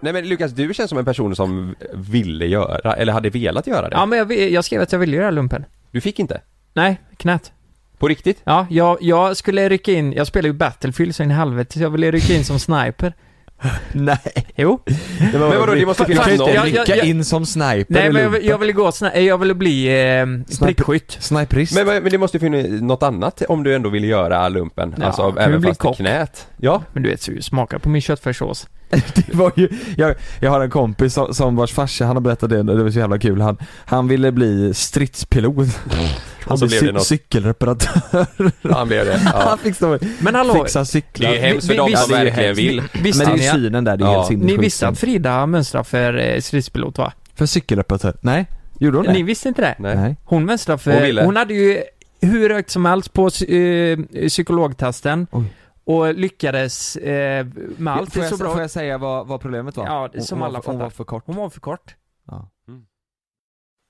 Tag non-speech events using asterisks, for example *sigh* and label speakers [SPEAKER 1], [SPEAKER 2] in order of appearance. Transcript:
[SPEAKER 1] Nej men Lukas, du känns som en person som ville göra, eller hade velat göra det.
[SPEAKER 2] Ja, men jag, vi- jag skrev att jag ville göra lumpen.
[SPEAKER 1] Du fick inte?
[SPEAKER 2] Nej, knät.
[SPEAKER 1] På riktigt?
[SPEAKER 2] Ja, jag, jag skulle rycka in, jag spelar ju Battlefield så in i helvete, så jag ville rycka in som sniper.
[SPEAKER 3] Nej.
[SPEAKER 2] Jo.
[SPEAKER 1] Men vadå, det måste
[SPEAKER 3] Du
[SPEAKER 1] finnas
[SPEAKER 3] kan ju
[SPEAKER 1] någon-
[SPEAKER 3] inte
[SPEAKER 2] Jag- jag-
[SPEAKER 3] rycka
[SPEAKER 2] jag-
[SPEAKER 3] in som sniper
[SPEAKER 2] Nej,
[SPEAKER 3] i
[SPEAKER 2] men jag, vill-
[SPEAKER 3] lumpen.
[SPEAKER 2] jag ville gå, sna- eh, jag ville bli eh, prickskytt.
[SPEAKER 3] Sniperist.
[SPEAKER 1] Men, men men det måste ju finnas något annat om du ändå vill göra lumpen.
[SPEAKER 2] Ja,
[SPEAKER 1] alltså
[SPEAKER 2] kan vi
[SPEAKER 1] även
[SPEAKER 2] bli
[SPEAKER 1] fast i
[SPEAKER 2] kock?
[SPEAKER 1] knät. Ja. *laughs*
[SPEAKER 2] Men du vet, så smaka på min köttfärssås.
[SPEAKER 3] Det var ju, jag, jag har en kompis som, som vars farsa, han har berättat det, det var så jävla kul. Han, han ville
[SPEAKER 1] *laughs*
[SPEAKER 3] bli stridspilot. Han
[SPEAKER 1] så blev
[SPEAKER 3] blev
[SPEAKER 1] det
[SPEAKER 3] cy-
[SPEAKER 1] något.
[SPEAKER 3] cykelreparatör.
[SPEAKER 1] Han blev det.
[SPEAKER 3] *laughs* Han
[SPEAKER 1] Ja.
[SPEAKER 3] fick stå,
[SPEAKER 2] Men hallå,
[SPEAKER 3] fixa
[SPEAKER 1] Det
[SPEAKER 3] cyklar.
[SPEAKER 1] är ju hemskt för
[SPEAKER 2] Vi-
[SPEAKER 1] dem
[SPEAKER 2] vi-
[SPEAKER 1] som
[SPEAKER 3] vi-
[SPEAKER 1] verkligen
[SPEAKER 3] vi-
[SPEAKER 1] vill.
[SPEAKER 3] Men
[SPEAKER 2] visste
[SPEAKER 3] det är
[SPEAKER 2] ni,
[SPEAKER 3] synen där, det är
[SPEAKER 1] Ja.
[SPEAKER 3] helt
[SPEAKER 2] ni
[SPEAKER 3] sinnessjukt.
[SPEAKER 2] visste att Frida mönstrar för eh, stridspilot va?
[SPEAKER 3] För cykelreparatör? Nej, gjorde hon det?
[SPEAKER 2] Ni visste inte det?
[SPEAKER 1] Nej.
[SPEAKER 2] Hon mönstrade för...
[SPEAKER 1] Hon ville.
[SPEAKER 2] hade ju hur högt som helst på eh, psykologtesten.
[SPEAKER 3] Oj.
[SPEAKER 2] Och lyckades eh, med allt.
[SPEAKER 3] får,
[SPEAKER 2] det är
[SPEAKER 3] jag,
[SPEAKER 2] så bra.
[SPEAKER 3] får jag säga vad, vad problemet var?
[SPEAKER 2] Ja, det- som
[SPEAKER 3] hon,
[SPEAKER 2] alla
[SPEAKER 3] var, för- hon
[SPEAKER 2] fattar.
[SPEAKER 3] var för kort.
[SPEAKER 2] Hon var för kort.
[SPEAKER 3] Ja.